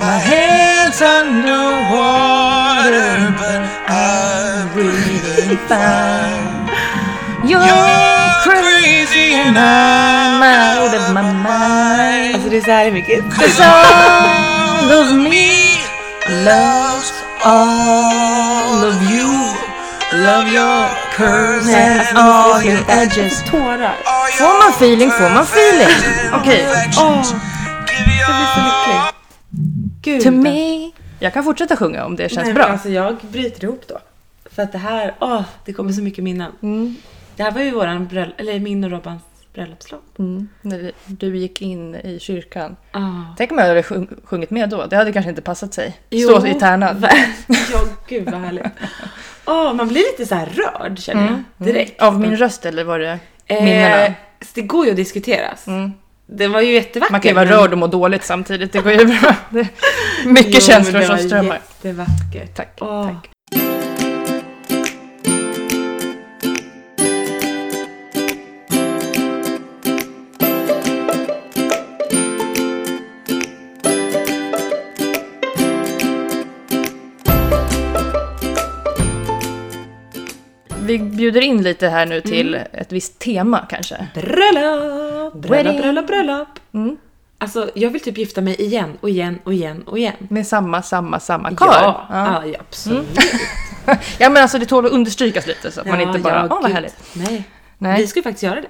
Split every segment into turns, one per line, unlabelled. My hands underwater, but I'm breathing fine. Oh, You're crazy and I'm out of my mind.
Alltså det är så här mycket.
Cause all of me loves all of you. Love your curves
Alltså,
and all your edges.
Tårar.
Får man feeling får man feeling. Oh. Okej.
Åh, jag blir så
Okay.
lycklig. Gud.
To me. Jag kan fortsätta sjunga om det känns
Nej, men
bra.
Alltså jag bryter ihop då. För att det här, åh, det kommer så mycket minnen.
Mm.
Det här var ju våran bröll- eller min och Robbans bröllopslåt.
Mm. När du gick in i kyrkan.
Ah.
Tänk om jag hade sjung- sjungit med då. Det hade kanske inte passat sig. Stå i tärnan.
ja, gud vad härligt. Åh, man blir lite så här rörd känner jag Mm. direkt.
Mm.
Eh,
Av min röst eller var det minnena?
så det går ju att diskuteras.
Mm.
Det var ju jättevackert.
Man kan ju vara
men-
rörd och må dåligt samtidigt. Det går ju bra. Det är mycket
Jo,
känslor
men det
som
var
strömmar.
Jättevackert.
Tack.
Åh.
tack. Vi bjuder in lite här
Mm.
nu till ett visst tema kanske.
Bröllop, bröllop,
Wedding.
bröllop, bröllop.
Mm.
Alltså, jag vill typ gifta mig igen och igen och igen och igen.
Med samma, samma, samma karl.
Ja,
Ja. Mm.
ja. absolut.
ja men alltså det tål att understrykas lite så att man
Ja,
inte bara,
ja,
åh vad
gud.
härligt.
Nej.
Nej.
vi ska ju faktiskt göra det.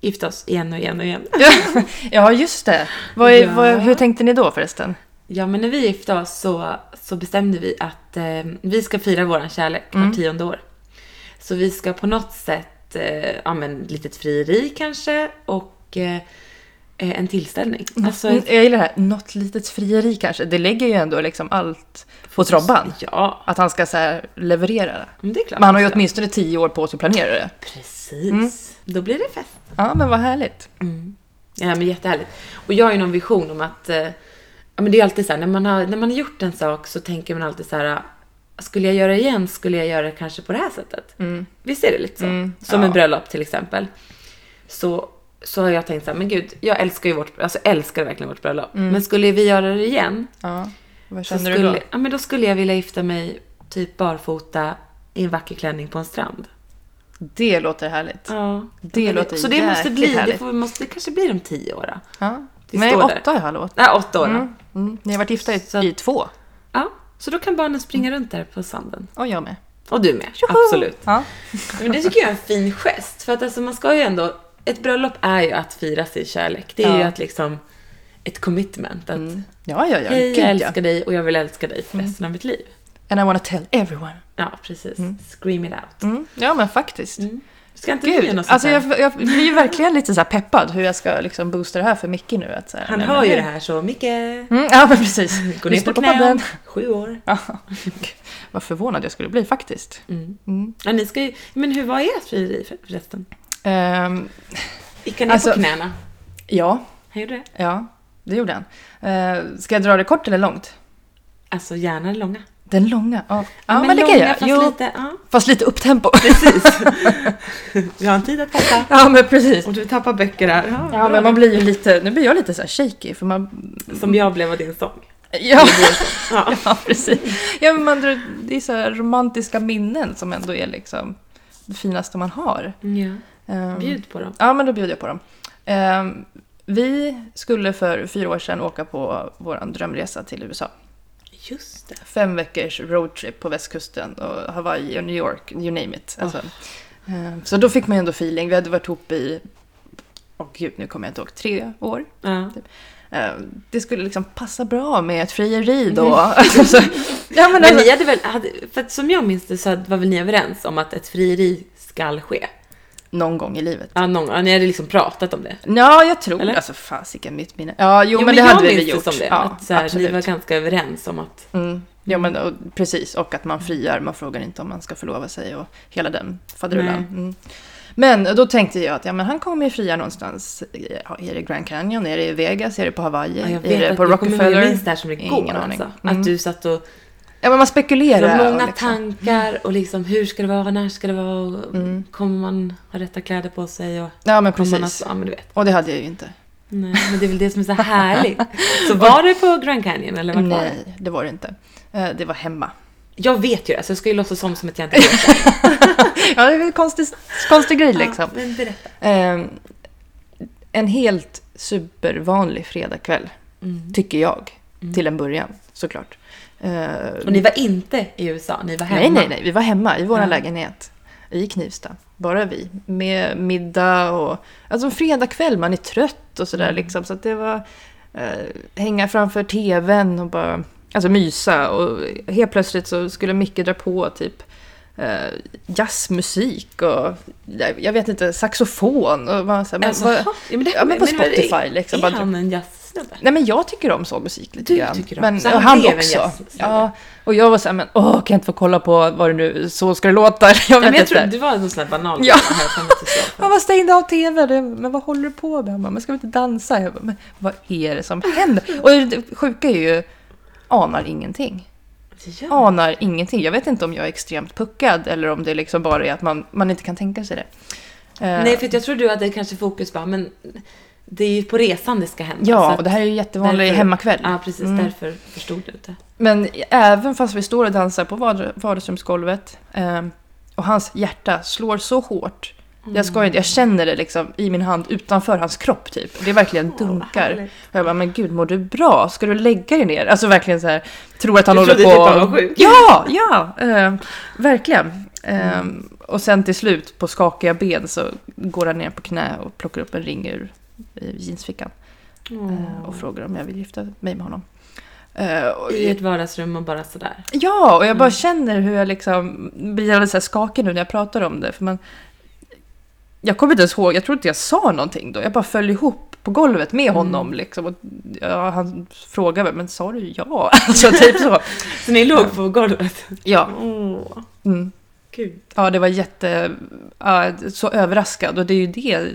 Gifta oss igen och igen och igen.
ja, just det. Vad är,
Ja.
vad, hur tänkte ni då förresten?
Ja, men när vi gifte oss så, så bestämde vi att eh, vi ska fira vår kärlek
Mm.
var tionde år. Så vi ska på något sätt, eh, ja men litet frieri kanske och eh, eh, en tillställning. Alltså,
Mm, Jag gillar det här, något litet frieri kanske. Det lägger ju ändå liksom allt på Robban.
Ja,
Att han ska så här leverera.
men det är klart.
Men han har ju
Ja,
åtminstone tio år på sig att planera det.
Precis. Mm. Då blir det fest.
Ja, men vad härligt.
Ja, men jättehärligt. Och jag har ju någon vision om att, eh, ja men det är ju alltid så här, när man, har, när man har gjort en sak så tänker man alltid så här, ah, skulle jag göra det igen skulle jag göra det kanske på det här sättet.
Mm.
Visst är det lite så? Som en bröllop till exempel. Så, så har jag tänkt så här, men gud, jag älskar ju vårt, alltså älskar verkligen vårt bröllop. Men skulle vi göra det igen
Ja. Vad
så
Mm. känner
skulle,
du då?
Ja, men då skulle jag vilja gifta mig typ barfota i en vacker klänning på en strand.
Det låter härligt.
Ja,
Det låter
Så det måste
jäkligt
bli, det,
härligt.
får, måste, det kanske blir om tio år då.
Ja.
Det
Nej,
står där.
åtta har jag låtit.
Nej, åtta år då.
Mm. Mm. Ni har varit gifta i,
Så att-
i två.
Ja, så då kan barnen springa runt där på sanden.
Och jag med.
Och du med, absolut.
Ja.
Men det tycker jag är en fin gest, för att alltså man ska ju ändå... Ett bröllop är ju att fira sin kärlek. Det är ju
Ja.
att liksom... Ett commitment att
Ja, ja, ja.
hej, jag
Gud, ja. Mm.
älskar dig och jag vill älska dig för resten av mitt liv.
And I wanna tell everyone.
Ja, precis. Scream it out.
Mm. Ja, men faktiskt.
Ska inte du göra
Gud,
något sånt
alltså
här?
jag, jag blir ju verkligen lite så här peppad hur jag ska liksom boosta det här för Micke nu. Att så här,
Han
nej,
hör
men-
ju det här så, Micke,
Mm, ja, men precis.
gå ner
Lyssna
på knä,
podden.
sju år.
Ja. Vad förvånad jag skulle bli faktiskt.
Mm.
Mm.
Ja, ni ska ju... Men hur var ert frieri för- förresten?
Ehm,
Gick han ner
Alltså-
på knäna?
ja,
Han gjorde det?
ja, det gjorde han. Uh, ska jag dra det kort eller långt?
Alltså, gärna långa.
Den långa? Ja, ja men, det
långa
kan jag.
fast
Jo,
lite... Ja.
fast lite upptempo.
Vi har en tid att passa.
ja, men precis.
Om du tappar böcker här.
Ja, men man blir ju lite, nu blir jag lite så här shaky för man...
Som jag blev av din sång.
Ja,
Ja.
ja precis. Ja, men man, drar- det är så här romantiska minnen som ändå är liksom det finaste man har. Ehm,
Bjud på dem.
Ja, men då bjuder jag på dem. Ehm, vi skulle för fyra år sedan åka på vår drömresa till USA.
Just det.
Fem veckors roadtrip på västkusten och Hawaii och New York, you name it.
Ah.
Alltså, ehm, så då fick man ju ändå feeling. Vi hade varit ihop i, åh gud, nu kommer jag inte ihåg, tre år.
Ja.
Ehm, det skulle liksom passa bra med ett frieri då. Alltså, ja, men
Mm. Men
alltså,
ni hade väl, hade, för att som jag minns det så hade- var väl ni överens om att ett frieri skall ske?
någon gång i livet.
Ja, någon, ja, ni hade liksom pratat om det.
Ja, jag tror...
Eller?
Alltså fasiken, mitt minne. Ja, jo, men, det
jag
hade vi
minns
väl gjort.
Det som det,
ja,
att så här, ni
absolut.
var ganska överens om att...
Mm. Ja, men och, precis. Och att man friar. Man frågar inte om man ska förlova sig och hela den faderullan.
Nej.
Mm. Men då tänkte jag att ja, men han kommer ju fria någonstans. i- Ja, är det Grand Canyon? Är det i Vegas? Är det på
Ja,
Hawaii?
jag
är
vet
det
att
på
jag kommer ihåg, jag
Rockefeller?
minns det här som det går
Ingen aning.
alltså.
Mm.
Att du satt och...
Ja, men man
Det
spekulerar.
var många
och liksom.
tankar och liksom hur ska det vara, när ska det vara, och kommer man ha rätta kläder på sig och...
Ja, men
Kommer man
Mm. precis.
alltså, ja men du vet.
Och det hade jag ju inte.
Nej, men det är väl det som är så härligt. Så var det på Grand Canyon eller vart var det?
Nej, det var det inte. Eh, Det var hemma.
Jag vet ju det, så jag ska ju låtsas som som att jag inte vet.
Ja, det är en konstig, konstig grej liksom.
Ja, men berätta.
Eh, en helt supervanlig fredagkväll,
Mm.
tycker jag. Till en början, såklart. Eh,
Och ni var inte i USA, ni var hemma.
Nej, nej, nej. Vi var hemma i vår
Ja.
lägenhet i Knivsta. Bara vi. Med middag och... Alltså en fredagkväll, man är trött och
Mm.
sådär liksom. Så att det var... Eh, hänga framför tvn och bara... Alltså mysa och helt plötsligt så skulle Micke dra på typ eh, jazzmusik och jag, jag vet inte, saxofon och man, så här, men,
Alltså,
vad,
ja, men det-
ja, men på
men vad är-
Spotify liksom.
Är
Bara,
han en jazzsnubbe?
Nej men jag tycker om sån musik lite
Du
grann.
tycker om-
men,
så
och
han
han
blev en
också.
jazzsnubbe.
Ja, och jag var såhär, men åh, kan jag inte få kolla på vad det nu, så ska det låta? Jag vet
Nej, men jag
inte.
tror det var någon sån här banal
Ja.
Jag har för mig att det står för.
Han var stängd av TV. Det- Men vad håller du på med? Han bara, Men ska vi inte dansa? Jag bara, men vad är det som händer? Och det sjuka är ju, anar ingenting.
Ja.
Anar ingenting. Jag vet inte om jag är extremt puckad eller om det liksom bara är att man, man inte kan tänka sig det. Eh,
Nej, för att jag tror du hade kanske fokus på, men det är ju på resan det ska hända.
ja,
att
och det här är ju jättevanlig
därför-
hemmakväll.
Ja, precis.
Mm.
Därför förstod du inte.
Men även fast vi står och dansar på vard- vardagsrumsgolvet eh, och hans hjärta slår så hårt.
Mm.
Jag, ska inte, jag känner det liksom i min hand utanför hans kropp typ. Det är verkligen dunkar.
härligt.
och jag bara, men gud mår du bra? Ska du lägga dig ner? Alltså verkligen så här, tror att han
Du
håller
trodde
på...
typ han var sjuk.
Ja, ja! Eh, verkligen. Eh,
Mm.
Och sen till slut på skakiga ben så går han ner på knä och plockar upp en ring ur eh, jeansfickan. Eh, och frågar om jag vill gifta mig med honom. Eh, och-
I ett vardagsrum och bara sådär.
Ja, och jag
Mm.
bara känner hur jag liksom blir alldeles så här skakig nu när jag pratar om det. För man, jag kommer inte ens ihåg, jag tror inte jag sa någonting då. Jag bara föll ihop på golvet
Mm.
med honom. Liksom, och, ja, han frågade väl, men sa du ja? Alltså typ så.
Så ni låg på golvet?
Ja,
Åh,
mm.
gud.
ja det var jätte... Ja, så överraskad. Och det är ju det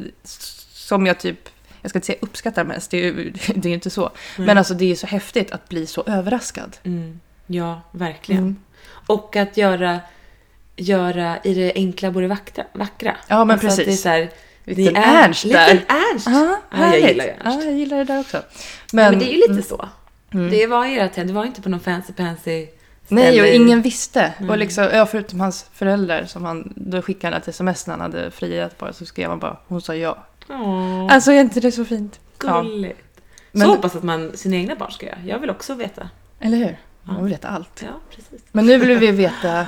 som jag typ... Jag ska inte säga uppskattar mest, det är ju, det är ju inte så. Men alltså det är ju så häftigt att bli så överraskad.
Mm. Ja, verkligen.
Mm.
Och att göra, göra i det enkla både vackra. vackra. Alltså
Ja, men
att Det är
precis.
så här,
Liten
det är,
Ernst där.
Liten Ernst!
Ja,
ja, jag
härligt. Mm.
gillar ju Ernst.
Ja, jag gillar det där också.
Men, det är ju lite så. Det var ert hem, det var inte på någon fancy pansy
Nej, och
ställe.
ingen visste.
Mm.
Och liksom, ja, förutom hans föräldrar, som han, då skickade han ett sms när han hade friat bara, så skrev han bara hon sa ja.
Mm. Åh,
Alltså är inte det så fint?
gulligt.
Men-
Så hoppas att man sina egna barn ska göra. Jag vill också veta.
Eller hur? Man vill veta allt.
Ja, precis.
Men nu vill vi veta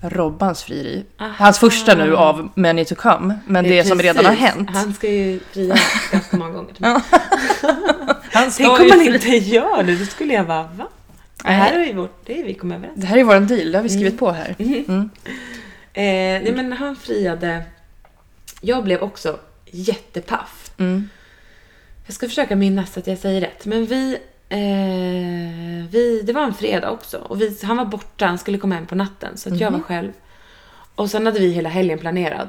Robbans frieri. Hans första nu av Many to come, men det, som
Precis.
redan har hänt.
Han ska ju fria ganska många gånger.
Han ska
Tänk om
ju
man
fri-
inte gör det, då skulle jag bara va? Det här
Nej.
är ju vårt, det är vi kommer överens.
Det här är våran deal, det har
Mm.
vi skrivit på här.
Eh, nej men han friade. Jag blev också jättepaff.
Mm.
Jag ska försöka minnas att jag säger rätt. Men vi, eh, vi det var en fredag också. Och vi, han var borta, han skulle komma hem på natten. Så att jag var
Mhm.
själv. Och sen hade vi hela helgen planerad.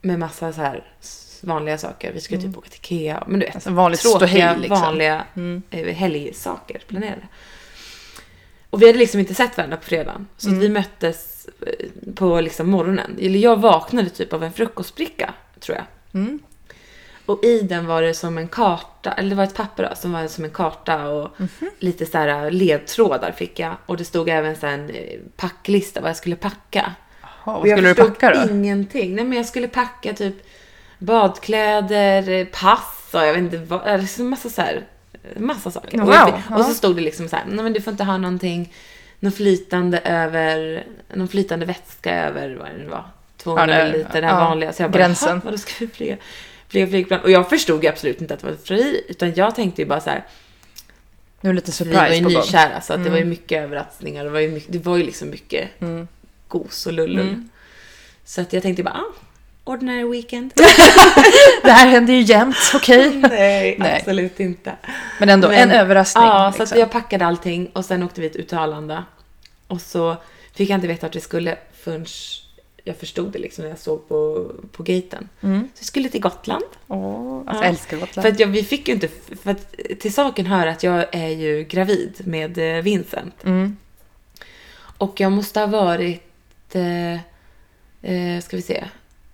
Med massa så här s- vanliga saker. Vi skulle typ åka till Ikea. Men du vet,
Mm. Alltså vanligt
tråkiga
ståhej, liksom.
vanliga eh, helgsaker planerade. Och vi hade liksom inte sett varandra på fredagen. Så att vi möttes eh, på liksom morgonen. Eller jag vaknade typ av en frukostbricka, tror jag. Och i den var det som en karta, eller det var ett papper då, som var som en karta och lite så här ledtrådar fick jag. Och det stod även så här en eh, packlista vad jag skulle packa.
Ja,
Och
vad skulle du
jag förstod
packa då?
ingenting. Nej men jag skulle packa typ badkläder, eh, pass och jag vet inte vad, eh, liksom massa så här, eh, massa saker. Och, jag
Wow,
fick, och så
ja.
stod det liksom så här, nej men du får inte ha någonting, någon flytande över, någon flytande vätska över vad det nu var. 200
Ja, det-
milliliter, det här
ja,
vanliga. Så jag bara,
gränsen.
"Jaha, vadå ska vi flyga? Flyga flygplan. Och jag förstod ju absolut inte att det var ett frieri, utan jag tänkte ju bara så här,
Nu är det lite
vi var ju
surprise på Mm. gång.
nykära så att det var ju mycket överraskningar. Det var ju, mycket, det var ju liksom mycket
Mm.
gos och lullull. Så att jag tänkte bara, ah, ordinary weekend.
Det här händer ju jämt, okej?
Nej,
Nej.
absolut inte.
Men ändå,
Men-
en överraskning.
Ja, så
liksom.
att jag packade allting och sen åkte vi till Utalanda. Och så fick jag inte veta att vi skulle förrän jag förstod det liksom när jag såg på, på gaten.
Mm.
Så vi skulle till Gotland.
Åh, alltså,
Ja.
jag älskar Gotland.
För att jag, vi fick ju inte, för att till saken hör att jag är ju gravid med eh, Vincent. Och jag måste ha varit, eh, eh, ska vi se,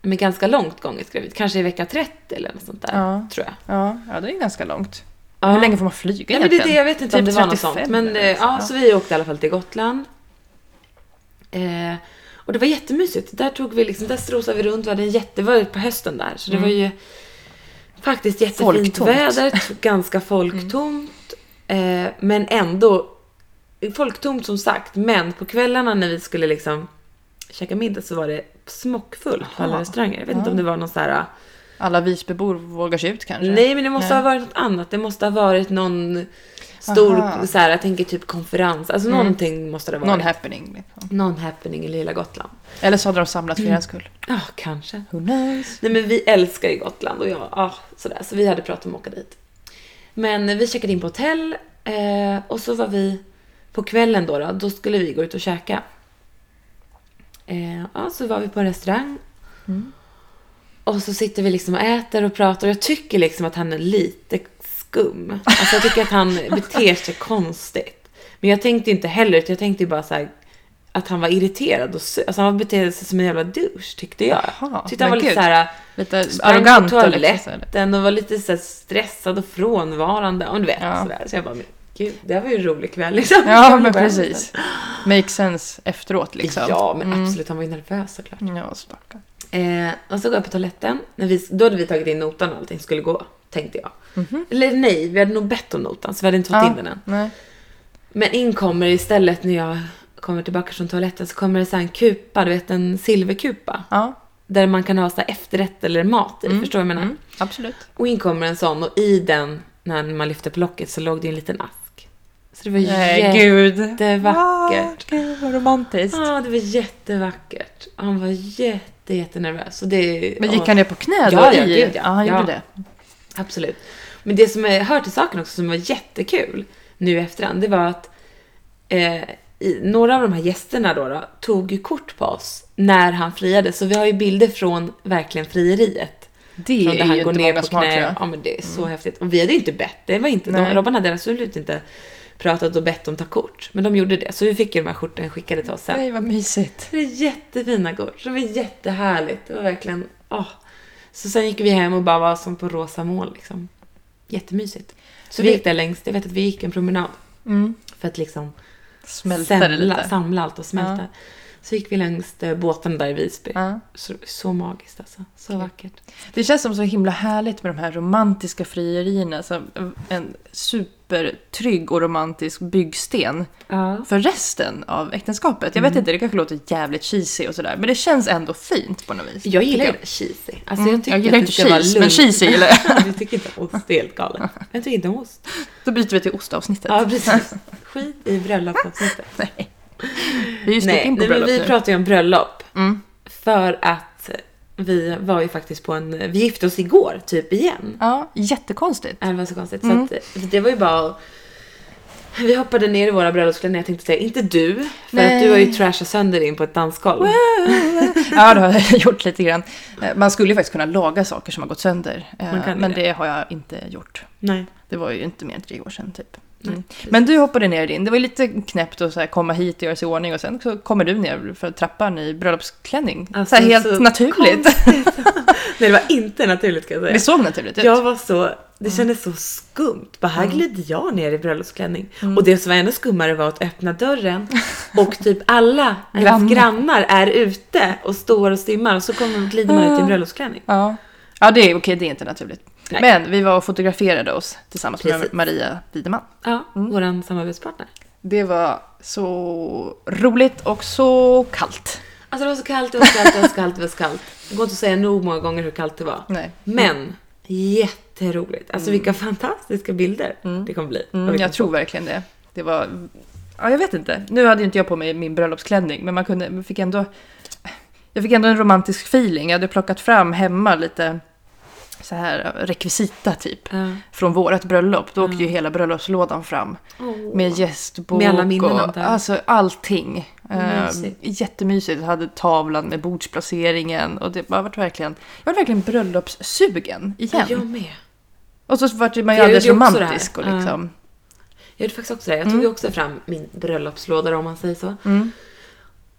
men ganska långt gånget gravid. Kanske i vecka 30 eller något sånt där,
Ja.
tror jag.
Ja, ja, det är ganska långt.
Ja.
Hur länge får man flyga
Nej, men det är det,
egentligen?
jag vet inte om
Typ
det var något
35
sånt. Men eh,
eller något.
ja, så vi åkte i alla fall till Gotland. Eh, och det var jättemysigt. Där tog vi liksom, där strosade vi runt. Vi hade en jätte, det var ju på hösten där. Så det var ju faktiskt jättefint
Folktomt.
väder. t- Ganska folktomt. Eh, men ändå, folktomt som sagt. Men på kvällarna när vi skulle liksom käka middag så var det smockfullt på alla
Jaha.
restauranger. Jag vet inte om det var någon så här...
Alla Visbybor vågar sig ut kanske?
Nej, men det måste
Nej.
ha varit något annat. Det måste ha varit någon stor,
Aha. Mm.
så här, jag tänker typ konferens. Alltså någonting måste det ha varit.
Någon happening. Liksom.
någon happening i lilla Gotland.
Eller så hade de samlats för er skull.
Ja, kanske.
Who knows?
Nej, men vi älskar ju Gotland och jag, ja, sådär. Så vi hade pratat om att åka dit. Men vi checkade in på hotell eh, och så var vi på kvällen då, då, då skulle vi gå ut och käka. Eh, ja, så var vi på en restaurang.
Mm.
Och så sitter vi liksom och äter och pratar och jag tycker liksom att han är lite skum. Alltså jag tycker att han beter sig konstigt. Men jag tänkte inte heller, utan jag tänkte ju bara så här att han var irriterad och sur. Alltså han betedde sig som en jävla douche tyckte jag.
Jaha,
tyckte han var
men
lite
gud.
så här
Lite
sprang
arrogant.
på
och liksom så här.
toaletten och var lite så här stressad och frånvarande. Om du vet,
Ja.
sådär. Så jag bara, men gud, det här var ju en rolig kväll liksom.
Ja, men precis. Make sense efteråt liksom.
Ja, men absolut. Han var ju nervös såklart.
Ja, stackarn.
Eh, och så går jag på toaletten. När vi, då hade vi tagit in notan och allting skulle gå, tänkte jag.
Mhm.
Eller nej, vi hade nog bett om notan så vi hade inte fått in den än.
nej.
Men in kommer istället när jag kommer tillbaka från toaletten så kommer det så här en kupa, du vet en silverkupa.
Ja,
Där man kan ha så här efterrätt eller mat i,
Mm.
förstår du vad jag menar?
absolut.
Och in kommer en sån och i den, när man lyfte på locket, så låg det en liten ask. Så det var jätte...
Eh, gud.
jättevackert.
Gud, vad romantiskt.
Ja, det var jättevackert. Han var jätte, jättenervös. Och det,
Men gick
ja,
han ner på knä då?
Ja, ja,
i...
gud, ja.
han
Ja.
gjorde det.
Absolut. Men det som är, hör till saken också, som var jättekul nu i efterhand, det var att eh, i, några av de här gästerna då, då tog ju kort på oss när han friade. Så vi har ju bilder från verkligen frieriet.
Det
Från
är
där han
ju
går
inte
ner
många
på
som har, tror
knä.
jag.
Ja, men det är så häftigt. Och vi hade ju inte bett. Det var inte de,
Nej.
Robban hade absolut inte pratat och bett om ta kort. Men de gjorde det. Så vi fick ju de här skjortorna skickade till oss sen.
Nej, vad mysigt.
Det är jättefina kort. Det var jättehärligt. Det var verkligen... ah. Så sen gick vi hem och bara var som på rosa moln. Liksom. Jättemysigt. Så vi
Det-
gick där längst. Jag vet att vi gick en promenad. För att liksom
Mm. Smälta det
samla,
lite.
samla allt och smälta. Så gick vi längs eh, båten där i Visby.
Ja.
Så, så magiskt alltså. Så vackert.
Det känns som så himla härligt med de här romantiska frierierna. Som en supertrygg och romantisk byggsten
Ja.
för resten av äktenskapet.
Mm.
Jag vet inte, det kanske låter jävligt cheesy och sådär. Men det känns ändå fint på något vis.
Jag gillar ju
tycker
det. cheesy. Alltså
Mm,
jag tycker
jag gillar
att det
inte
ska vara
cheese, men
lugnt.
cheesy gillar jag.
Du tycker inte om ost, det är helt galet. Jag tycker inte om ost.
Då byter vi till ostavsnittet.
Ja, precis. Skit i bröllopsavsnittet.
Nej. Vi är ju
Nej,
in på
nej men
bröllop
vi
nu.
pratar ju om bröllop.
Mm.
För att vi var ju faktiskt på en... Vi gifte oss igår, typ igen.
Ja, jättekonstigt.
Ja, Det var så konstigt.
Mm.
Så att, för det var ju bara... Vi hoppade ner i våra bröllopsklänningar, jag tänkte säga, inte du. För att
Nej.
du har ju trashat sönder in på ett dansgolv.
Ja, det har jag gjort lite grann. Eh, Man skulle ju faktiskt kunna laga saker som har gått sönder. eh,
Man kan ju
Men
det.
det har jag inte gjort.
Nej.
Det var ju inte mer än tre år sedan typ. Mm. Men du hoppade ner i din. Det var ju lite knäppt att så här komma hit och göra sig i ordning och sen så kommer du ner för trappan i bröllopsklänning.
Alltså,
så här helt
så
naturligt.
Nej, det var inte naturligt kan jag säga.
Det såg naturligt ut.
Jag var så, det kändes så skumt. Bara här glider jag ner i bröllopsklänning. Och det som var ännu skummare var att öppna dörren och typ alla ens
Grannar.
grannar är ute och står och stimmar och så kommer, glider man ut i en bröllopsklänning.
Ja. ja, det är okej, det är inte naturligt.
Nej.
Men vi var och fotograferade oss tillsammans
Precis.
med Maria Wideman.
Ja, våran samarbetspartner.
Det var så roligt och så kallt.
Alltså det var så kallt, det var så kallt, det var så kallt, det var så kallt. Det går inte att säga nog många gånger hur kallt det var.
Nej.
Men Mm. jätteroligt. Alltså vilka fantastiska bilder det kommer bli. Och
Mm,
vilka
jag tror verkligen det. Det var... Ja, jag vet inte. Nu hade ju inte jag på mig min bröllopsklänning, men man kunde, man fick ändå... Jag fick ändå en romantisk feeling. Jag hade plockat fram hemma lite så här rekvisita typ.
Ja.
Från vårt bröllop. Då åkte ju hela bröllopslådan fram.
Mm. Åh.
Med gästbok
Med alla minnen
och
antar jag.
alltså, allting. Eh,
Mysigt.
jättemysigt. Jag hade tavlan med bordsplaceringen. Och det var verkligen, jag var verkligen bröllopssugen igen.
Jag med.
Och så var det man ju
Jag
alldeles
gjorde ju också det här.
romantisk. Och
Ja.
liksom, Mm.
Jag gjorde faktiskt också det. Jag tog ju också fram min bröllopslåda om man säger så.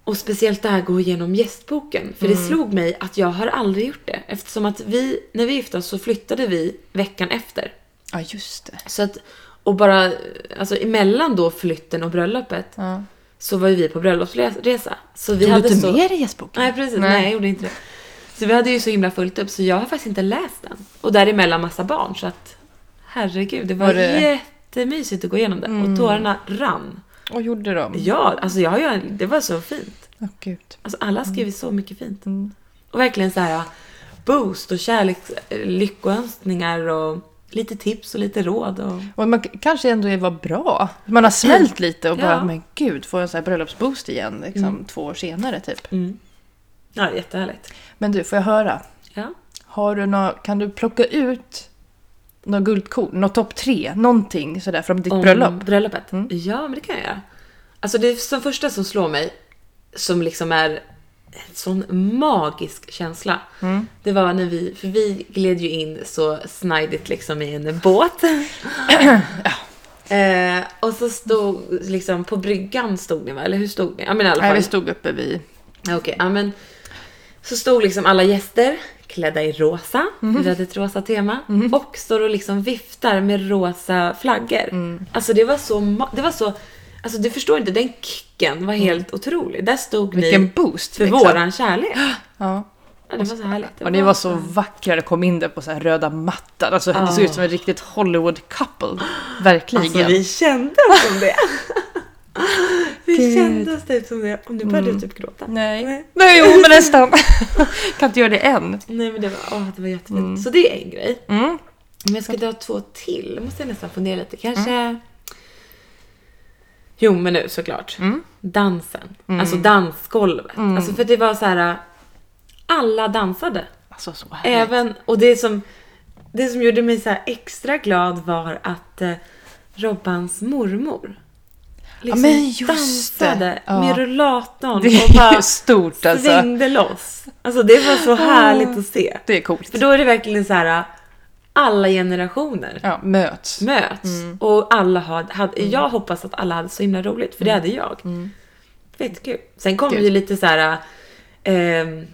Och speciellt det här gå igenom gästboken. För
Mm.
det slog mig att jag har aldrig gjort det. Eftersom att vi, när vi gifte oss så flyttade vi veckan efter.
Ja, just det.
Så att, och bara, alltså emellan då flytten och bröllopet
Ja.
så var ju vi på bröllopsresa. Så vi
Tog
hade
du inte
så...
med dig gästboken?
Nej precis, nej.
Nej.
jag gjorde inte det. Så vi hade ju så himla fullt upp så jag har faktiskt inte läst den. Och däremellan massa barn så att herregud, det var,
Var det- Mm.
jättemysigt att gå igenom det. Och tårarna rann.
Och gjorde de?
Ja, alltså jag har ju, det var så fint.
Åh, gud.
Alltså alla har
Mm.
skrivit så mycket fint. Och verkligen så här boost och kärlek, lyckoönskningar och lite tips och lite råd. Och...
Och man k- kanske ändå är- var bra. Man har smält lite och bara,
Ja. Mm.
men gud, får jag en sån här bröllopsboost igen liksom, två år senare typ.
Ja, jättehärligt.
Men du, får jag höra?
Ja.
Har du nå, kan du plocka ut något guldkorn, något topp tre, någonting sådär från ditt
Om
bröllop? Mm.
Bröllopet? Ja, men det kan jag göra. Alltså det som första som slår mig, som liksom är en sån magisk känsla.
Mm.
Det var när vi, för vi gled ju in så snidigt liksom i en båt. eh, och så stod liksom på bryggan stod ni va? Eller hur stod ni? Ja men i alla
Nej,
fall.
vi stod uppe vid...
Ja, Okej, ja men. Så stod liksom alla gäster klädda i rosa.
Mhm.
Vi hade ett rosa tema. Och står och liksom viftar med rosa flaggor.
Mm.
Alltså det var så, ma- det var så, alltså du förstår inte, den kicken var helt otrolig. Där stod
Mm. Vilken
ni
boost!
för
liksom.
våran kärlek.
Ja.
Ja, det var så härligt. Det
Och ni var så vackra, det kom in där på så här röda mattan. Alltså, Det såg ut som ett riktigt Hollywood-couple. Verkligen.
Alltså vi kände oss som det. vi kände oss typ som det. Och nu började du typ gråta.
Mm. Nej. Nej, jo men nästan. kan inte göra det än.
Nej men det var, åh, det var jättefint. Så det är en grej.
Mm.
Men jag ska dra två till. Måste jag nästan fundera lite. Kanske...
Mm.
Jo, men nu såklart.
Mm.
Dansen. Alltså dansgolvet. Alltså för det var så här... Alla dansade.
Alltså så härligt.
Även, och det som, det som gjorde mig så här extra glad var att eh, Robbans mormor liksom
men just
dansade
det. Ja.
med rullatorn
Det
och
är ju
bara
stort alltså.
svängde loss. Alltså det var så härligt att se.
Det är coolt.
För då är det verkligen så här alla generationer
Ja, möts.
möts
Mm.
och alla hade, hade jag hoppas att alla hade så himla roligt för det hade jag. Fett kul. Sen kom
Mm. Gud.
ju lite så här ehm,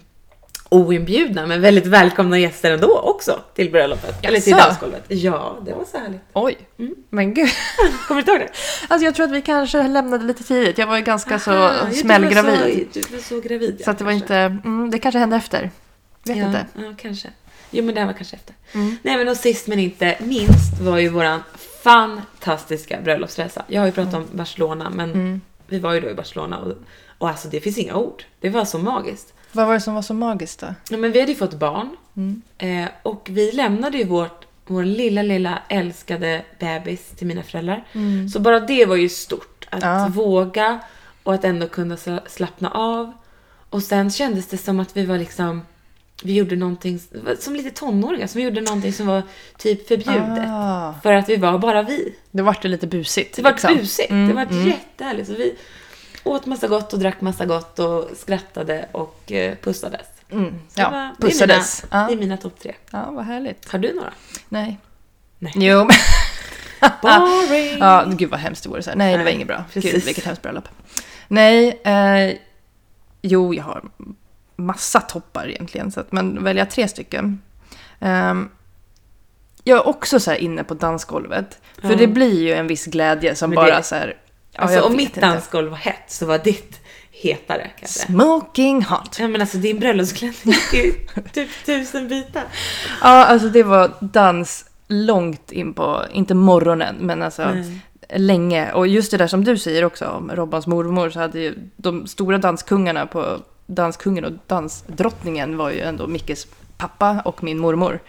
oinbjudna men väldigt välkomna gäster ändå också till bröllopet. Eller till
Jaså?
dansgolvet. Ja, det var så härligt.
Oj, men gud.
Kommer du inte ihåg det?
Mm. Alltså jag tror att vi kanske lämnade lite tidigt. Jag var ju ganska så
Ah, ja,
smällgravid.
Du var så, du var så gravid. ja,
Så att det var
kanske.
inte... Mm, det kanske hände efter. Vet
ja,
inte. Mm.
Ja, kanske. Jo, men det här var kanske efter. Nej, men och sist men inte minst var ju våran fantastiska bröllopsresa. Jag har ju pratat om Barcelona, men
Mm.
vi var ju då i Barcelona och, och alltså det finns inga ord. Det var så magiskt.
Vad var det som var så magiskt då?
Ja, men vi hade ju fått barn
Mm.
eh, och vi lämnade ju vårt, vår lilla, lilla älskade bebis till mina föräldrar. Så bara det var ju stort. Att
Mm. Ja.
våga och att ändå kunna sla- slappna av. Och sen kändes det som att vi var liksom, vi gjorde någonting, som lite tonåringar, som gjorde någonting som var typ förbjudet.
Ah.
För att vi var bara vi.
Det vart ju lite busigt.
Det var
liksom.
busigt. det var jättehärligt. Så vi åt massa gott och drack massa gott och skrattade och eh, pussades. Så
Mm. ja,
det var-
pussades.
Det är mina,
Ja.
det är mina topp tre.
Ja, vad härligt.
Har du några?
Nej.
Nej.
Jo. men-
Boring!
Ah. Ja, gud vad hemskt det vore. Så här. Nej, det var
Nej,
inget bra. Gud,
precis.
vilket hemskt bröllop. Nej, eh, jo, jag har massa toppar egentligen, så att man väljer tre stycken. Ehm, jag är också så här inne på dansgolvet, för
Ja.
det blir ju en viss glädje som
Men
bara
det-
så här... ja,
alltså,
jag
om
vet
mitt
inte.
dansgolv var hett så var ditt hetare kanske.
Smoking hot.
Ja men alltså din bröllopsklänning är ju typ tusen bitar.
Ja, alltså det var dans långt in på, inte morgonen, men alltså
Nej.
länge. Och just det där som du säger också om Robbans mormor så hade ju de stora danskungarna på Danskungen och Dansdrottningen var ju ändå Mickes pappa och min mormor.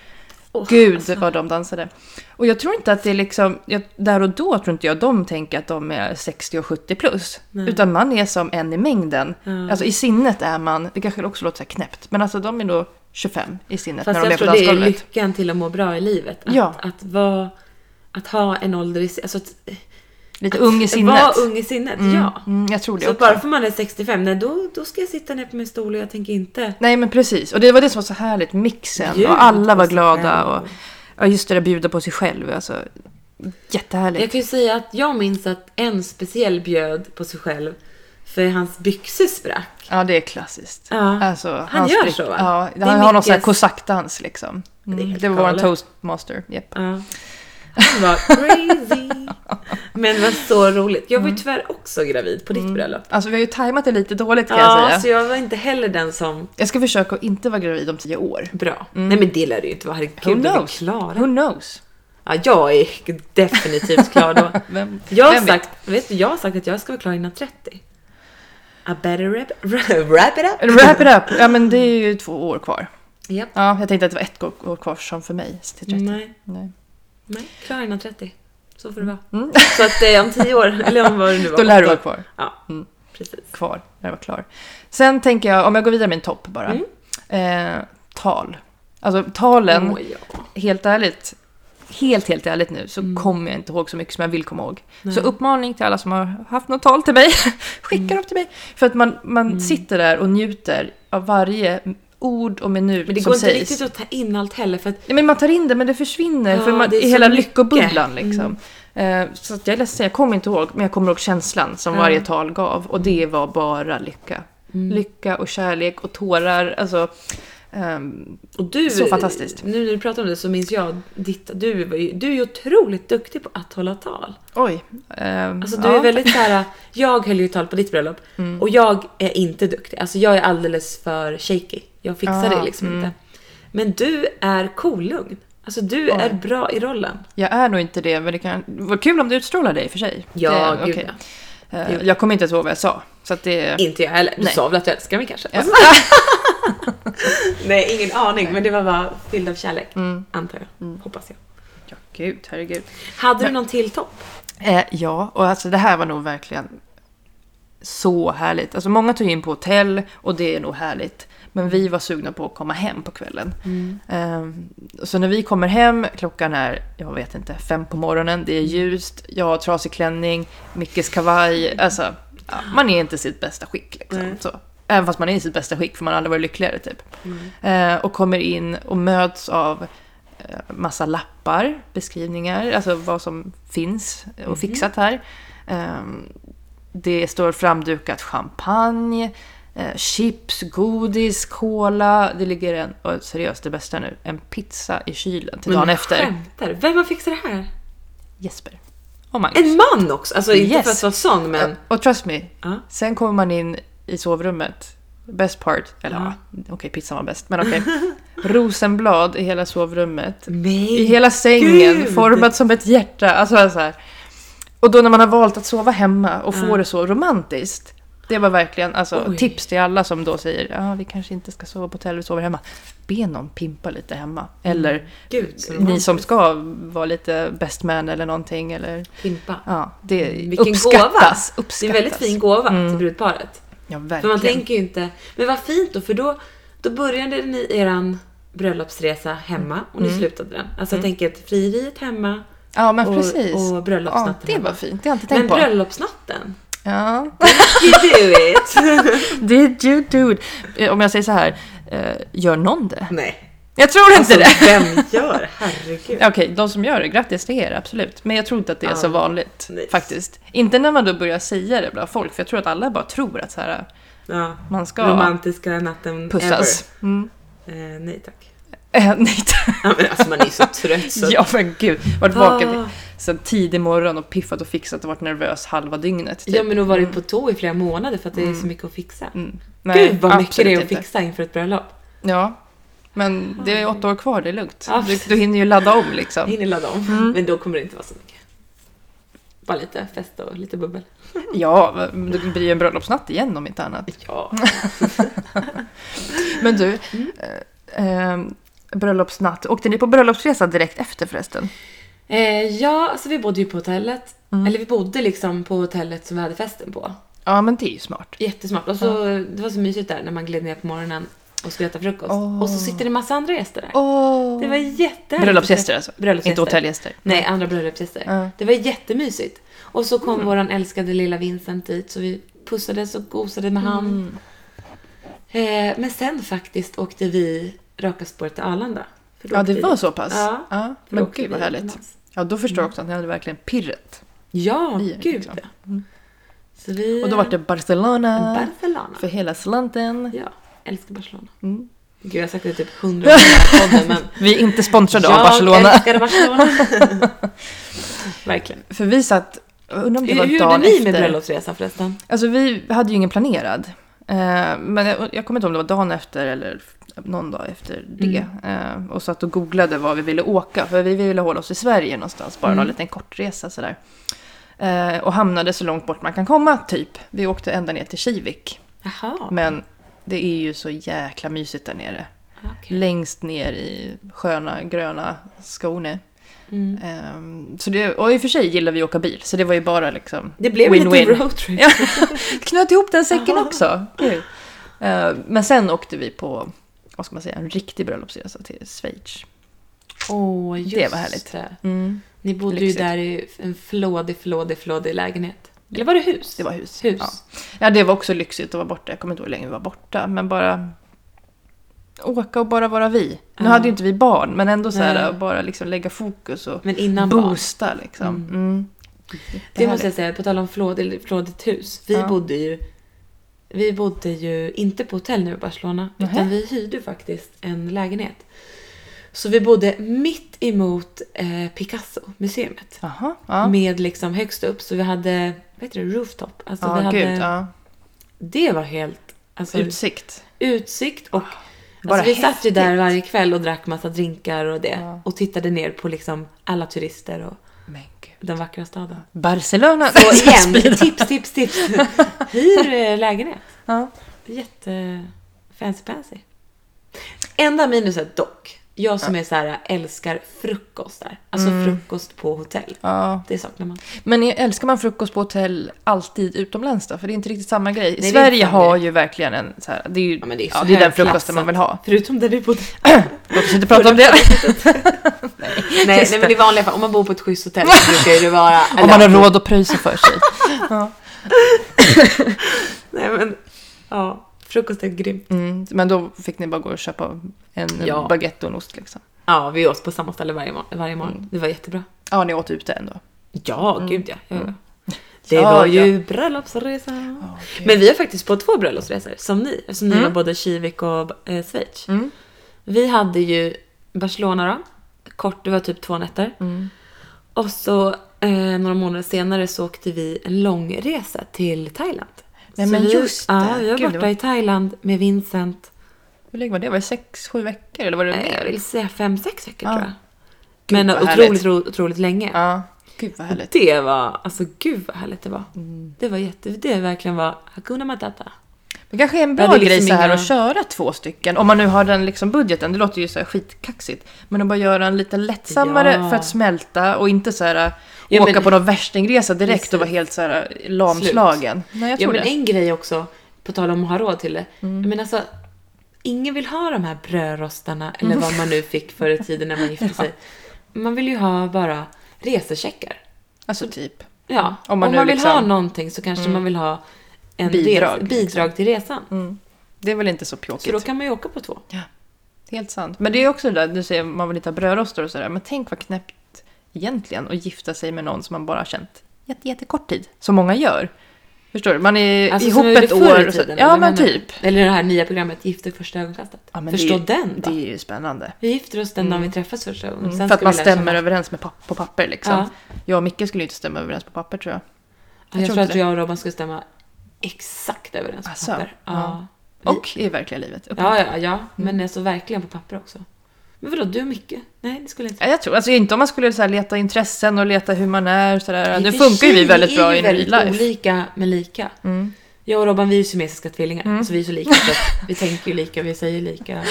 Åh, alltså.
Gud vad de dansade. Och jag tror inte att det är liksom, jag, där och då tror inte jag de tänker att de är 60 och 70 plus. Utan man är som en i mängden.
Ja.
Alltså i sinnet är man, det kanske också låter så här knäppt, men alltså de är nog 25 i sinnet
Fast
när de är
jag
på
tror det är
dansgolvet.
lyckan till att må bra i livet. Att,
Ja.
att, vara, att ha en ålder i alltså, att,
Lite ung i sinnet.
Vara ung i sinnet, ja.
Mm, jag tror det
Så
också.
bara för man är 65, nej då, då ska jag sitta ner på min stol och jag tänker inte
Nej men precis, och det var det som var så härligt, mixen
Bjud
och alla var
på sig
glada
själv.
och ja, just det där bjuda på sig själv, alltså jättehärligt.
Jag kan ju säga att jag minns att en speciell bjöd på sig själv för hans byxor sprack.
Ja, det är klassiskt.
Ja.
Alltså, han,
gör
sprick-
så, va?
Ja,
Det är
han har någon sån här
Mickes-
kosackdans liksom.
är
Mm.
helt
Det var vår
galet.
toastmaster. Yep.
Ja. Han var crazy. Men det var så roligt. Jag var ju tyvärr också gravid på ditt bröllop.
Alltså vi har ju tajmat det lite dåligt kan jag
Mm. Ja,
säga.
så jag var inte heller den som...
Jag ska försöka att inte vara gravid om tio år.
Bra. Nej men det lär det ju inte vara.
Who
Herregud, är vi
knows?
klara?
Who knows?
Ja, jag är definitivt klar då.
Vem,
Jag har,
vem vet?
sagt, vet du, jag har sagt att jag ska vara klar innan 30. I better wrap, wrap it up.
Wrap it up! Ja men det är ju två år kvar.
Japp.
Ja, jag tänkte att det var ett år kvar som för mig till 30.
Nej,
Nej.
nej, klar innan 30. Så får det vara. Så att eh, om 10 år, eller om vad det nu var.
Då lär du
åtta
vara
år.
kvar.
Ja, precis.
Kvar, när jag var klar. Sen tänker jag, om jag går vidare med en topp bara.
Mm.
Eh, tal. Alltså talen,
Åh, ja.
helt ärligt. Helt, helt ärligt nu så
Mm.
kommer jag inte ihåg så mycket som jag vill komma ihåg. Så uppmaning till alla som har haft något tal till mig. Skicka
Mm.
dem till mig. För att man, man sitter där och njuter av varje ord och minut
Men det
som
går inte
sägs.
riktigt att ta in allt heller för att
Nej, men man tar in det men det försvinner
Ja,
för man,
det är
i
så
hela
mycket. Mm.
lyckobubblan. Liksom. Eh, Så att jag är ledsen, jag kommer inte ihåg, men jag kommer ihåg känslan som varje tal gav och det var bara lycka.
Mm.
Lycka och kärlek och tårar. Alltså, ehm,
Och du,
Så fantastiskt.
Nu när du pratar om det så minns jag ditt, du, var ju- du är ju otroligt duktig på att hålla tal.
oj. ehm,
Alltså du
ja. Mm.
är väldigt såhär, jag höll ju tal på ditt bröllop och jag är inte duktig. Alltså jag är alldeles för shaky. Jag fixar
Ah,
det liksom inte. Men du är kolugn. Alltså du är bra i rollen.
Jag är nog inte det, men det kan vara kul om du utstrålar det i och för sig.
Ja,
det,
gud
okej.
ja.
Eh, Jag kommer inte ens ihåg vad jag sa. Så att det...
Inte jag heller. Du
Nej.
sa väl att du älskar mig kanske? Alltså, nej, ingen aning. Men det var bara fylld av kärlek.
Mm.
Antar jag. Hoppas jag.
Ja, gud, herregud.
Hade du någon till topp?
Eh, ja, och alltså det här var nog verkligen så härligt. Alltså många tog in på hotell och det är nog härligt. Men vi var sugna på att komma hem på kvällen. Eh, så när vi kommer hem, klockan är, jag vet inte, fem på morgonen, det är ljust, jag har trasig klänning, Mickes kavaj. Alltså, ja, man är inte i sitt bästa skick liksom. Så. Även fast man är i sitt bästa skick, för man har aldrig varit lyckligare typ. Eh, och kommer in och möts av eh, massa lappar, beskrivningar, alltså vad som finns och fixat här. Ehm, Det står framdukat champagne, eh, chips, godis, cola. Det ligger en, och seriöst det bästa nu, en pizza i kylen till dagen
du
efter.
Skämtar. Vem har fixat det här?
Jesper och Magnus.
En man också! Alltså inte
Yes.
för att vara sån men...
Och- Och trust me,
Ja.
sen kommer man in i sovrummet. Best part, eller ja, okej pizzan var bäst, men okej. Rosenblad i hela sovrummet.
Nej.
I hela sängen,
Gud!
format som ett hjärta. Alltså så här. Och då när man har valt att sova hemma och få det så romantiskt. Det var verkligen alltså,
Oj.
tips till alla som då säger ja vi kanske inte ska sova på hotell, vi sover hemma. Be någon pimpa lite hemma. Eller
Mm. Gud, så
ni som
romantiskt.
ska vara lite best man eller någonting. Eller,
Pimpa.
ja, det
Mm, Vilken
uppskattas.
gåva!
uppskattas.
Det är en väldigt fin gåva till brudparet.
Ja,
För
verkligen.
man tänker ju inte... Men vad fint då, för då, då började ni eran bröllopsresa hemma och
Mm.
ni slutade den. Alltså jag tänker att frieriet hemma
ja, men
och,
precis.
och bröllopsnatten
ja, det var
hemma.
fint, det har jag inte
Men
tänkt på.
bröllopsnatten?
Ja.
You do it!
Did you dude? Eh, Om jag säger så här, eh, gör någon det?
Nej.
Jag tror inte
Så
det!
vem gör? Herregud.
Alltså- Okej, de som gör det, grattis till er, absolut. Men jag tror inte att det är så
Ja.
vanligt
Nice.
faktiskt. Inte när man då börjar säga det bland folk, för jag tror att alla bara tror att så här, eh,
Ja.
man ska
Romantiska natten
pussas. Mm.
ever. Eh, nej tack.
Eh, nej, tack.
Ja, men alltså man är ju så trött så...
ja men gud, varit
Ah.
vaken sen tidig morgon och piffat och fixat och varit nervös halva dygnet. typ.
Ja men då var varit på tå i flera månader för att det är
Mm.
så mycket att fixa.
Nej,
Gud vad mycket
absolut
det är att
inte.
fixa inför ett bröllop.
Ja, men det är åtta år kvar, det är lugnt.
Ja,
Du,
precis.
du hinner ju ladda om
Jag
liksom.
hinner ladda om. Men då kommer det inte vara så mycket. Bara lite fest och lite bubbel.
Ja, det blir ju en bröllopsnatt igen om inte annat.
Ja.
Men du, eh, eh, bröllopsnatt. Åkte ni på bröllopsresa direkt efter förresten?
eh, ja, alltså vi bodde ju på hotellet.
Mm.
Eller vi bodde liksom på hotellet som vi hade festen på.
Ja, men det är ju smart.
Jättesmart. Och så, Det var så mysigt där när man gled ner på morgonen och skulle äta frukost.
Åh.
Och så sitter det massa andra gäster där.
Oh.
Det var jättehärligt.
Bröllopsgäster alltså?
Bröllopsgäster.
Inte hotellgäster?
Nej, andra bröllopsgäster.
Ja. Mm.
Det var jättemysigt. Och så kom våran älskade lilla Vincent dit, så vi pussades och gosade med han.
Mm.
Eh, men sen faktiskt åkte vi raka spåret till Arlanda. För då
Ja,
åkte
det
vi
var
dit.
så pass?
Ja. För då
Men
åker
gud
vi
vad härligt.
utomlands. Mm.
Ja, då förstår jag också att ni hade verkligen pirret.
Ja,
Vi är
gud
liksom.
ja. Så vi...
Och då var det Barcelona.
Barcelona.
För Mm. hela slanten.
Ja, älskar Barcelona. Gud, jag har sagt det typ hundra gånger i den här podden, men...
Vi är inte sponsrade av
jag
Barcelona.
älskar Barcelona. Verkligen.
För vi satt, jag undrar om det
Hur,
var
hur gjorde
dagen
ni
efter.
med bröllopsresan förresten?
Alltså vi hade ju ingen planerad. Eh, Men jag, jag kommer inte ihåg om det var dagen efter eller någon dag efter det.
Mm.
Eh, Och satt och googlade var vi ville åka. För vi ville hålla oss i Sverige någonstans. Bara mm. en liten kortresa sådär. Eh, Och hamnade så långt bort man kan komma, typ. Vi åkte ända ner till Kivik.
Jaha.
Men det är ju så jäkla mysigt där nere.
okej.
Längst ner i sköna gröna Skåne.
Mm.
Ehm, så det, och i och för sig gillar vi att åka bil, så det var ju bara liksom
Det blev en liten roadtrip.
Ja, knöt ihop den säcken också. Kul. Eh, men sen åkte vi på, vad ska man säga, en riktig bröllopsresa till Schweiz.
Åh, just
Det var härligt.
det.
Mm.
Ni bodde
Lyxigt.
ju där i en flådig, flådig, flådig lägenhet. Eller var det hus?
Det var hus.
Hus.
Ja. ja, det var också lyxigt att vara borta. Jag kommer inte ihåg hur länge vi var borta, men bara åka och bara vara vi. Nu
Ja.
hade ju inte vi barn, men ändå så här,
Nej.
att bara liksom lägga fokus och
Men innan barn.
boosta liksom. Mm.
Det måste
härligt.
jag säga, på tal om flådig, flådigt hus. Vi
Ja.
bodde ju vi bodde ju inte på hotell nu i Barcelona,
Nähä.
utan vi hyrde faktiskt en lägenhet. Så vi bodde mitt emot eh, Picasso-museet.
Jaha, ja.
Med liksom högst upp, så vi hade, vad heter det, rooftop. Alltså
ja,
vi hade,
gud, ja.
Det var helt, alltså
Utsikt.
utsikt och
Bara
alltså, vi satt ju
häftigt.
där varje kväll och drack massa drinkar och det.
Ja.
Och tittade ner på liksom alla turister och
Men gud.
den vackra staden.
Barcelona!
Och igen, tips, tips, tips. Hyr eh, lägenhet.
Ja.
Jätte fancy pansy. Enda minuset dock, jag som är så här älskar frukostar. Alltså frukost på hotell.
ja.
Det saknar man.
Men älskar man frukost på hotell alltid utomlands då? För det är inte riktigt samma grej.
det är
Sverige
inte samma
har
grej.
ju verkligen en så här, det är ju
Ja, men det är, så
ja, det är den
högklassat.
frukosten man vill ha.
Förutom där vi bodde.
Låt oss inte prata om det.
Nej, nej, men i vanliga fall, om man bor på ett schysst hotell så brukar ju det vara...
Om man har råd att pröjsa för sig.
Nej, men ja, frukost är grymt.
Mm, men då fick ni bara gå och köpa en
Ja.
baguette och en ost liksom.
Ja, vi åt på samma ställe varje, mor- varje morgon.
Mm.
Det var jättebra.
Ja, ni åt ute ändå.
Ja, gud ja. ja, ja. Det
Mm. Ja,
var
ja.
ju bröllopsresa. Men vi har faktiskt på två bröllopsresor, som ni. Eftersom
Mm.
ni var både Kivik och eh, Schweiz. Vi hade ju Barcelona då. Kort, det var typ två nätter.
Mm.
Och så eh, några månader senare så åkte vi en långresa till Thailand.
Nej,
Så
men
vi,
just det.
Ja, vi var
Gud, det
borta
var-
i Thailand med Vincent.
Hur länge var det? Var det sex, sju veckor eller var det
Eh, Jag
mer?
vill säga fem, sex veckor
Ja.
tror jag. Men
vad
otroligt,
härligt.
ro, otroligt länge.
Ja. Gud vad härligt.
Det var, alltså gud vad härligt det var.
Mm.
Det var jätte, det verkligen var Hakuna Matata.
Det kanske är en bra
Ja, det är
grej
liksom
så här
inga-
att köra två stycken. Om man nu har den liksom budgeten, det låter ju så här skitkaxigt. Men att bara göra en lite lättsammare
Ja.
för att smälta och inte så här
Ja,
åka
men-
på någon värstingresa direkt
Precis.
och vara helt så här eh, lamslagen. Nej, jag
Ja
tror
men
det. Mm.
en grej också, på tal om att ha råd till det. Men alltså, ingen vill ha de här brödrostarna eller vad man nu fick förr i tiden när man gifte sig. Man vill ju ha bara resecheckar.
Alltså typ.
Ja,
Om
om
man
man,
nu
vill
liksom- Mm.
ha någonting så kanske man vill ha en
Bidrag,
bidrag,
liksom. Mm.
bidrag till resan.
Det är väl inte
Så
så
då
pjåkigt.
kan man ju åka på två.
Helt sant. Men det är också det där, du säger man vill inte ha brödrostar och sådär. Men tänk vad knäppt egentligen att gifta sig med någon som man bara har känt jätte, jättekort tid. Som många gör. Förstår du? Man är
Alltså,
ihop
som gjorde
ett
förr i
år. Och så,
tiden,
ja
eller
men
menar-
typ.
Eller det här nya programmet Gift vid första ögonkastet.
Ja, men
Förstå
det, är-
den då.
Det är ju spännande.
Vi gifter oss den dagen vi träffas första gången.
för att
ska
man
vi lära känna
stämmer överens med pap- på papper liksom.
Ja.
Jag och Micke skulle ju inte stämma överens på papper tror jag.
Jag,
tror
tror
inte
att jag och Robban skulle stämma exakt överens på
Asså,
papper.
Alltså, ja. Mm.
Ja.
Och i verkliga livet.
Vi- ja, ja, ja. Men alltså verkligen på papper också. Men vadå, du och Micke? Nej, det skulle jag inte.
Ja, Jag tror, alltså inte om man skulle så här, leta intressen och leta hur man är och sådär. Nu
I och för
funkar ju vi
sig,
väldigt bra
är
i
ju
en real
väldigt
life. Mm.
olika men lika. Jag och Robban, vi är ju siamesiska tvillingar. Så vi är så lika. Så att vi tänker ju lika, vi säger lika.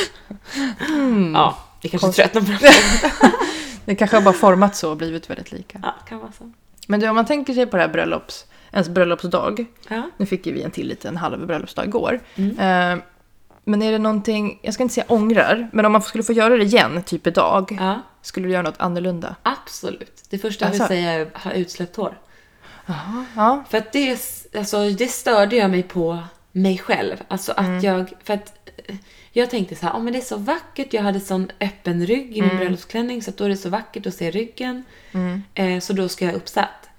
Mm.
Ja, vi kanske
Konstigt.
tröttnar på det.
Det kanske har bara formats så och blivit väldigt lika.
Ja, kan vara så.
Men du, om man tänker sig på det här bröllops, ens bröllopsdag.
Ja.
Nu fick ju vi en till liten halv bröllopsdag igår.
Mm.
Eh, men är det någonting, jag ska inte säga ångrar, men om man skulle få göra det igen, typ idag,
ja,
skulle du göra något annorlunda?
absolut. Det första jag vill
Asså.
säga är ha utsläppt hår.
Ja,
För att det, alltså, det störde jag mig på mig själv. Alltså att jag, för att eh, jag tänkte så här, oh, men det är så vackert, jag hade sån öppen rygg i min bröllopsklänning så att då är det så vackert att se ryggen. Eh, så då ska jag ha uppsatt.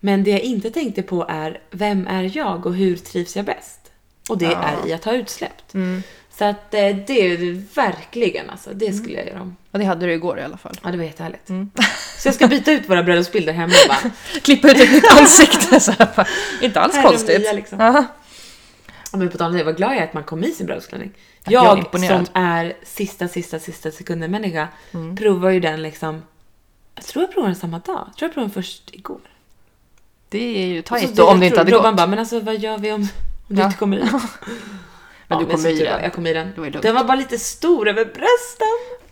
Men det jag inte tänkte på är, vem är jag och hur trivs jag bäst? Och det är i att ha utsläppt. Så att eh, det är ju verkligen alltså, det skulle jag göra om.
Ja, det hade du igår i alla fall.
Ja, det var jättehärligt. Så jag ska byta ut våra bröllopsbilder hemma och bara,
Klippa ut ett nytt ansikte så här. bara. Inte alls
Här är de
konstigt.
nya, liksom.
Aha.
Ja, men på tal om det, vad glad jag är att man kom i sin bröllopsklänning.
jag är
Jag,
imponerad. Mm.
som är sista, sista, sista sekunden människa provar ju den liksom. Jag tror jag provade den samma dag. Jag tror jag provade den först igår.
Det är ju
Så
tajt då, om det inte hade
Robban
gått.
bara, men alltså vad gör vi om, om du
Ja.
inte kommer i? Men
Men du kommer
så
i
tur var,
den.
Jag kom i den.
Det var ju lugnt.
den var bara lite stor över brösten.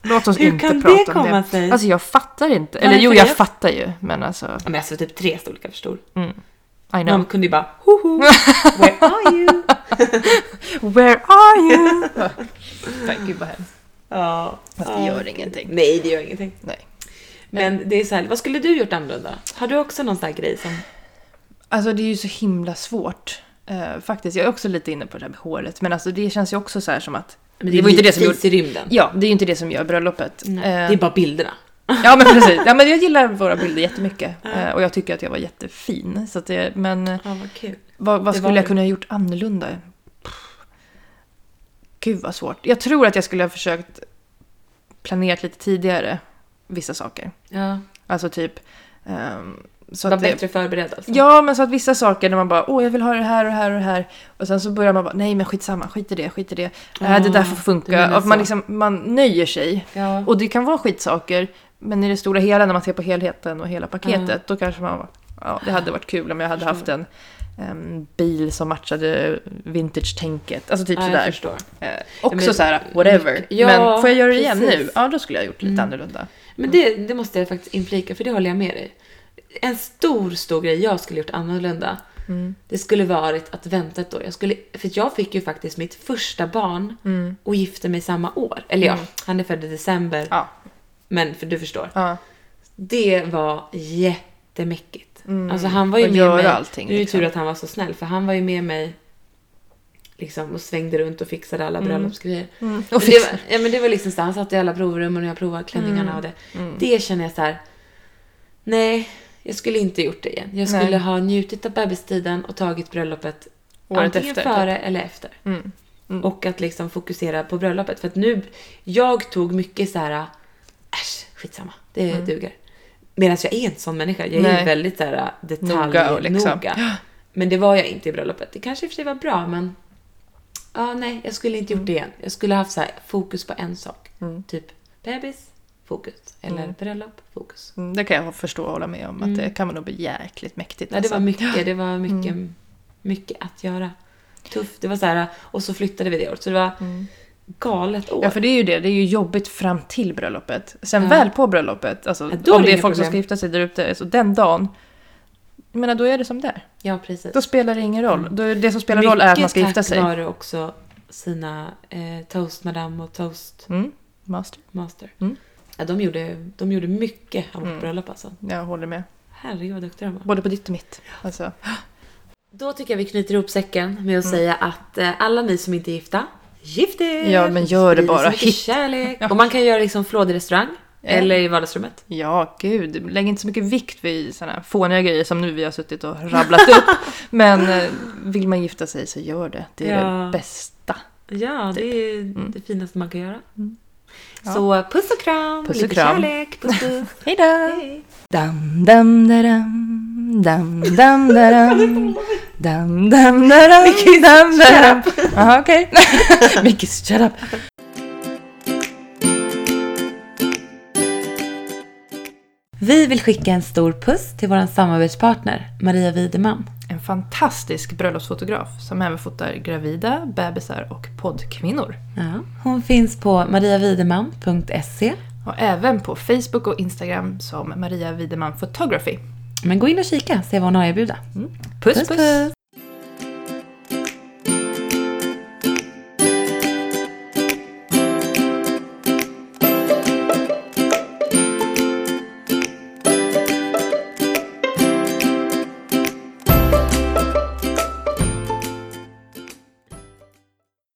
Låt oss
Hur
inte
kan
prata
det
om
komma
det.
sig?
Alltså jag fattar inte. Eller
Varför
jo, jag
det?
fattar ju. Men alltså,
Ja, men alltså typ tre storlekar för stor.
I
Man
know.
kunde ju bara, hoho, where are you?
Where are you? Nej, gud vad hemskt.
Ja.
Fast det gör ingenting.
Nej, det gör ingenting.
Nej.
Men det är så här, vad skulle du gjort annorlunda? Har du också någon sån här grej som
Alltså det är ju så himla svårt. eh, faktiskt, jag är också lite inne på det här med håret. Men alltså det känns ju också så här som att...
Men
det var ju inte det som
livs
gjorde...
i rymden.
Ja, det är ju inte det som gör bröllopet. Eh,
Det är bara bilderna.
Ja men precis. Ja, men jag gillar våra bilder jättemycket. Eh, Och jag tycker att jag var jättefin. Så att det, men eh,
Ja, vad kul.
vad, vad
Det
skulle
var
jag
du.
kunna ha gjort annorlunda? Pff. Gud vad svårt. Jag tror att jag skulle ha försökt planerat lite tidigare vissa saker.
Ja,
Alltså typ... ehm, så
var
att det,
bättre förberedd alltså.
ja men så att vissa saker när man bara åh jag vill ha det här och det här och det här. Och sen så börjar man bara nej men skitsamma, skit i det, skit i det. Äh, det där får
du menar
funka. Och man,
så.
liksom, man nöjer sig.
Ja.
Och det kan vara skitsaker, men i det stora hela när man ser på helheten och
Mm.
hela paketet, då kanske man bara, ja det hade varit kul om jag hade haft en, em, bil som matchade vintage-tänket. Alltså typ
ja, jag
sådär.
förstår.
Eh, också
men-
såhär, whatever.
Ja,
men får jag göra det igen
precis. Mm.
nu? Ja, då skulle jag ha gjort lite annorlunda.
Men det, det måste jag faktiskt inflika, för det håller jag med dig. En stor, stor grej jag skulle gjort annorlunda,
Mm.
det skulle varit att vänta ett år. Jag skulle, för jag fick ju faktiskt mitt första barn
Mm.
och gifte mig samma år. Eller ja, han är född i december,
Ja,
men för du förstår.
ja.
Det var jättemäckigt. Alltså han var ju
Och
med
Mm. göra
mig.
allting,
nu är det
liksom.
tur att han var så snäll för han var ju med mig liksom, och svängde runt och fixade
Mm.
alla bröllopsgrejer. Men det, var,
fixade.
ja, men det var liksom så här, han satt i alla provrummen och jag provade klänningarna
Mm.
och det. Det känner jag så här. Nej, jag skulle inte gjort det igen. Jag
Nej.
skulle ha njutit av bebistiden och tagit bröllopet
Året
antingen
efter, Mm.
före eller efter. Och att liksom fokusera på bröllopet. För att nu, jag tog mycket så här, äsch, skitsamma, det duger. Medan jag är en sån människa, jag är
Mm. Nej.
ju väldigt så här äh,
Noga och liksom.
detaljnoga. Men det var jag inte i bröllopet. Det kanske i och för sig var bra, men ja, nej, jag skulle inte
Mm.
gjort det igen. Jag skulle haft så här, fokus på en sak. Typ bebis, fokus. Eller bröllop, fokus.
Mm, Det kan jag förstå och hålla med om, att det kan man nog bli jäkligt mäktigt.
Nej, Mm. det
alltså.
var mycket, det var mycket,
Mm.
mycket att göra. Tufft, det var så här, och så flyttade vi det året. Så det var galet år.
Mm. Ja, för det är ju det. Det är ju jobbigt fram till bröllopet. Sen väl på bröllopet, alltså,
Ja, då är
om
det
det är
inga
folk som
problem.
ska gifta sig där ute, så den dagen, jag menar, då är det som där.
ja precis.
Då spelar det ingen roll. Då är det som spelar roll är att man ska gifta sig.
Mm. Mycket tack vare också sina eh, Toast Madame och Toast
Mm. Master.
Master.
Mm.
Ja, de, gjorde, de gjorde mycket av vårt bröllop alltså.
Jag håller med.
Herregud vad duktiga de var.
Både på ditt och mitt. Alltså,
Då tycker jag vi knyter ihop säcken med
Mm.
att säga att eh, alla ni som inte är gifta, gift er!
Ja, men gör det
Sprid så
bara.
mycket kärlek. Och man kan göra liksom flådig restaurang eller i vardagsrummet.
ja, gud. Lägg inte så mycket vikt vid sådana här fåniga grejer som nu vi har suttit och rabblat upp. Men eh, vill man gifta sig så gör det. Det är
Ja.
det bästa.
Ja,
Typ.
det är
Mm.
det finaste man kan göra. Så eh, puss och kram,
Puss och
lite
kram.
kärlek, puss puss!
Hej då!
Hej.
Dam dam daram, dam dam daram, dam dam daram, dam daram.
Jaha, okej. Mickey, shut up.
Vi vill skicka en stor puss till vår samarbetspartner Maria Wideman.
En fantastisk bröllopsfotograf som även fotar gravida, bebisar och poddkvinnor.
Ja, hon finns på mariavideman.se.
Och även på Facebook och Instagram som Maria Wideman Photography.
Men gå in och kika, se vad hon har att erbjuda. puss! puss.
puss.
puss.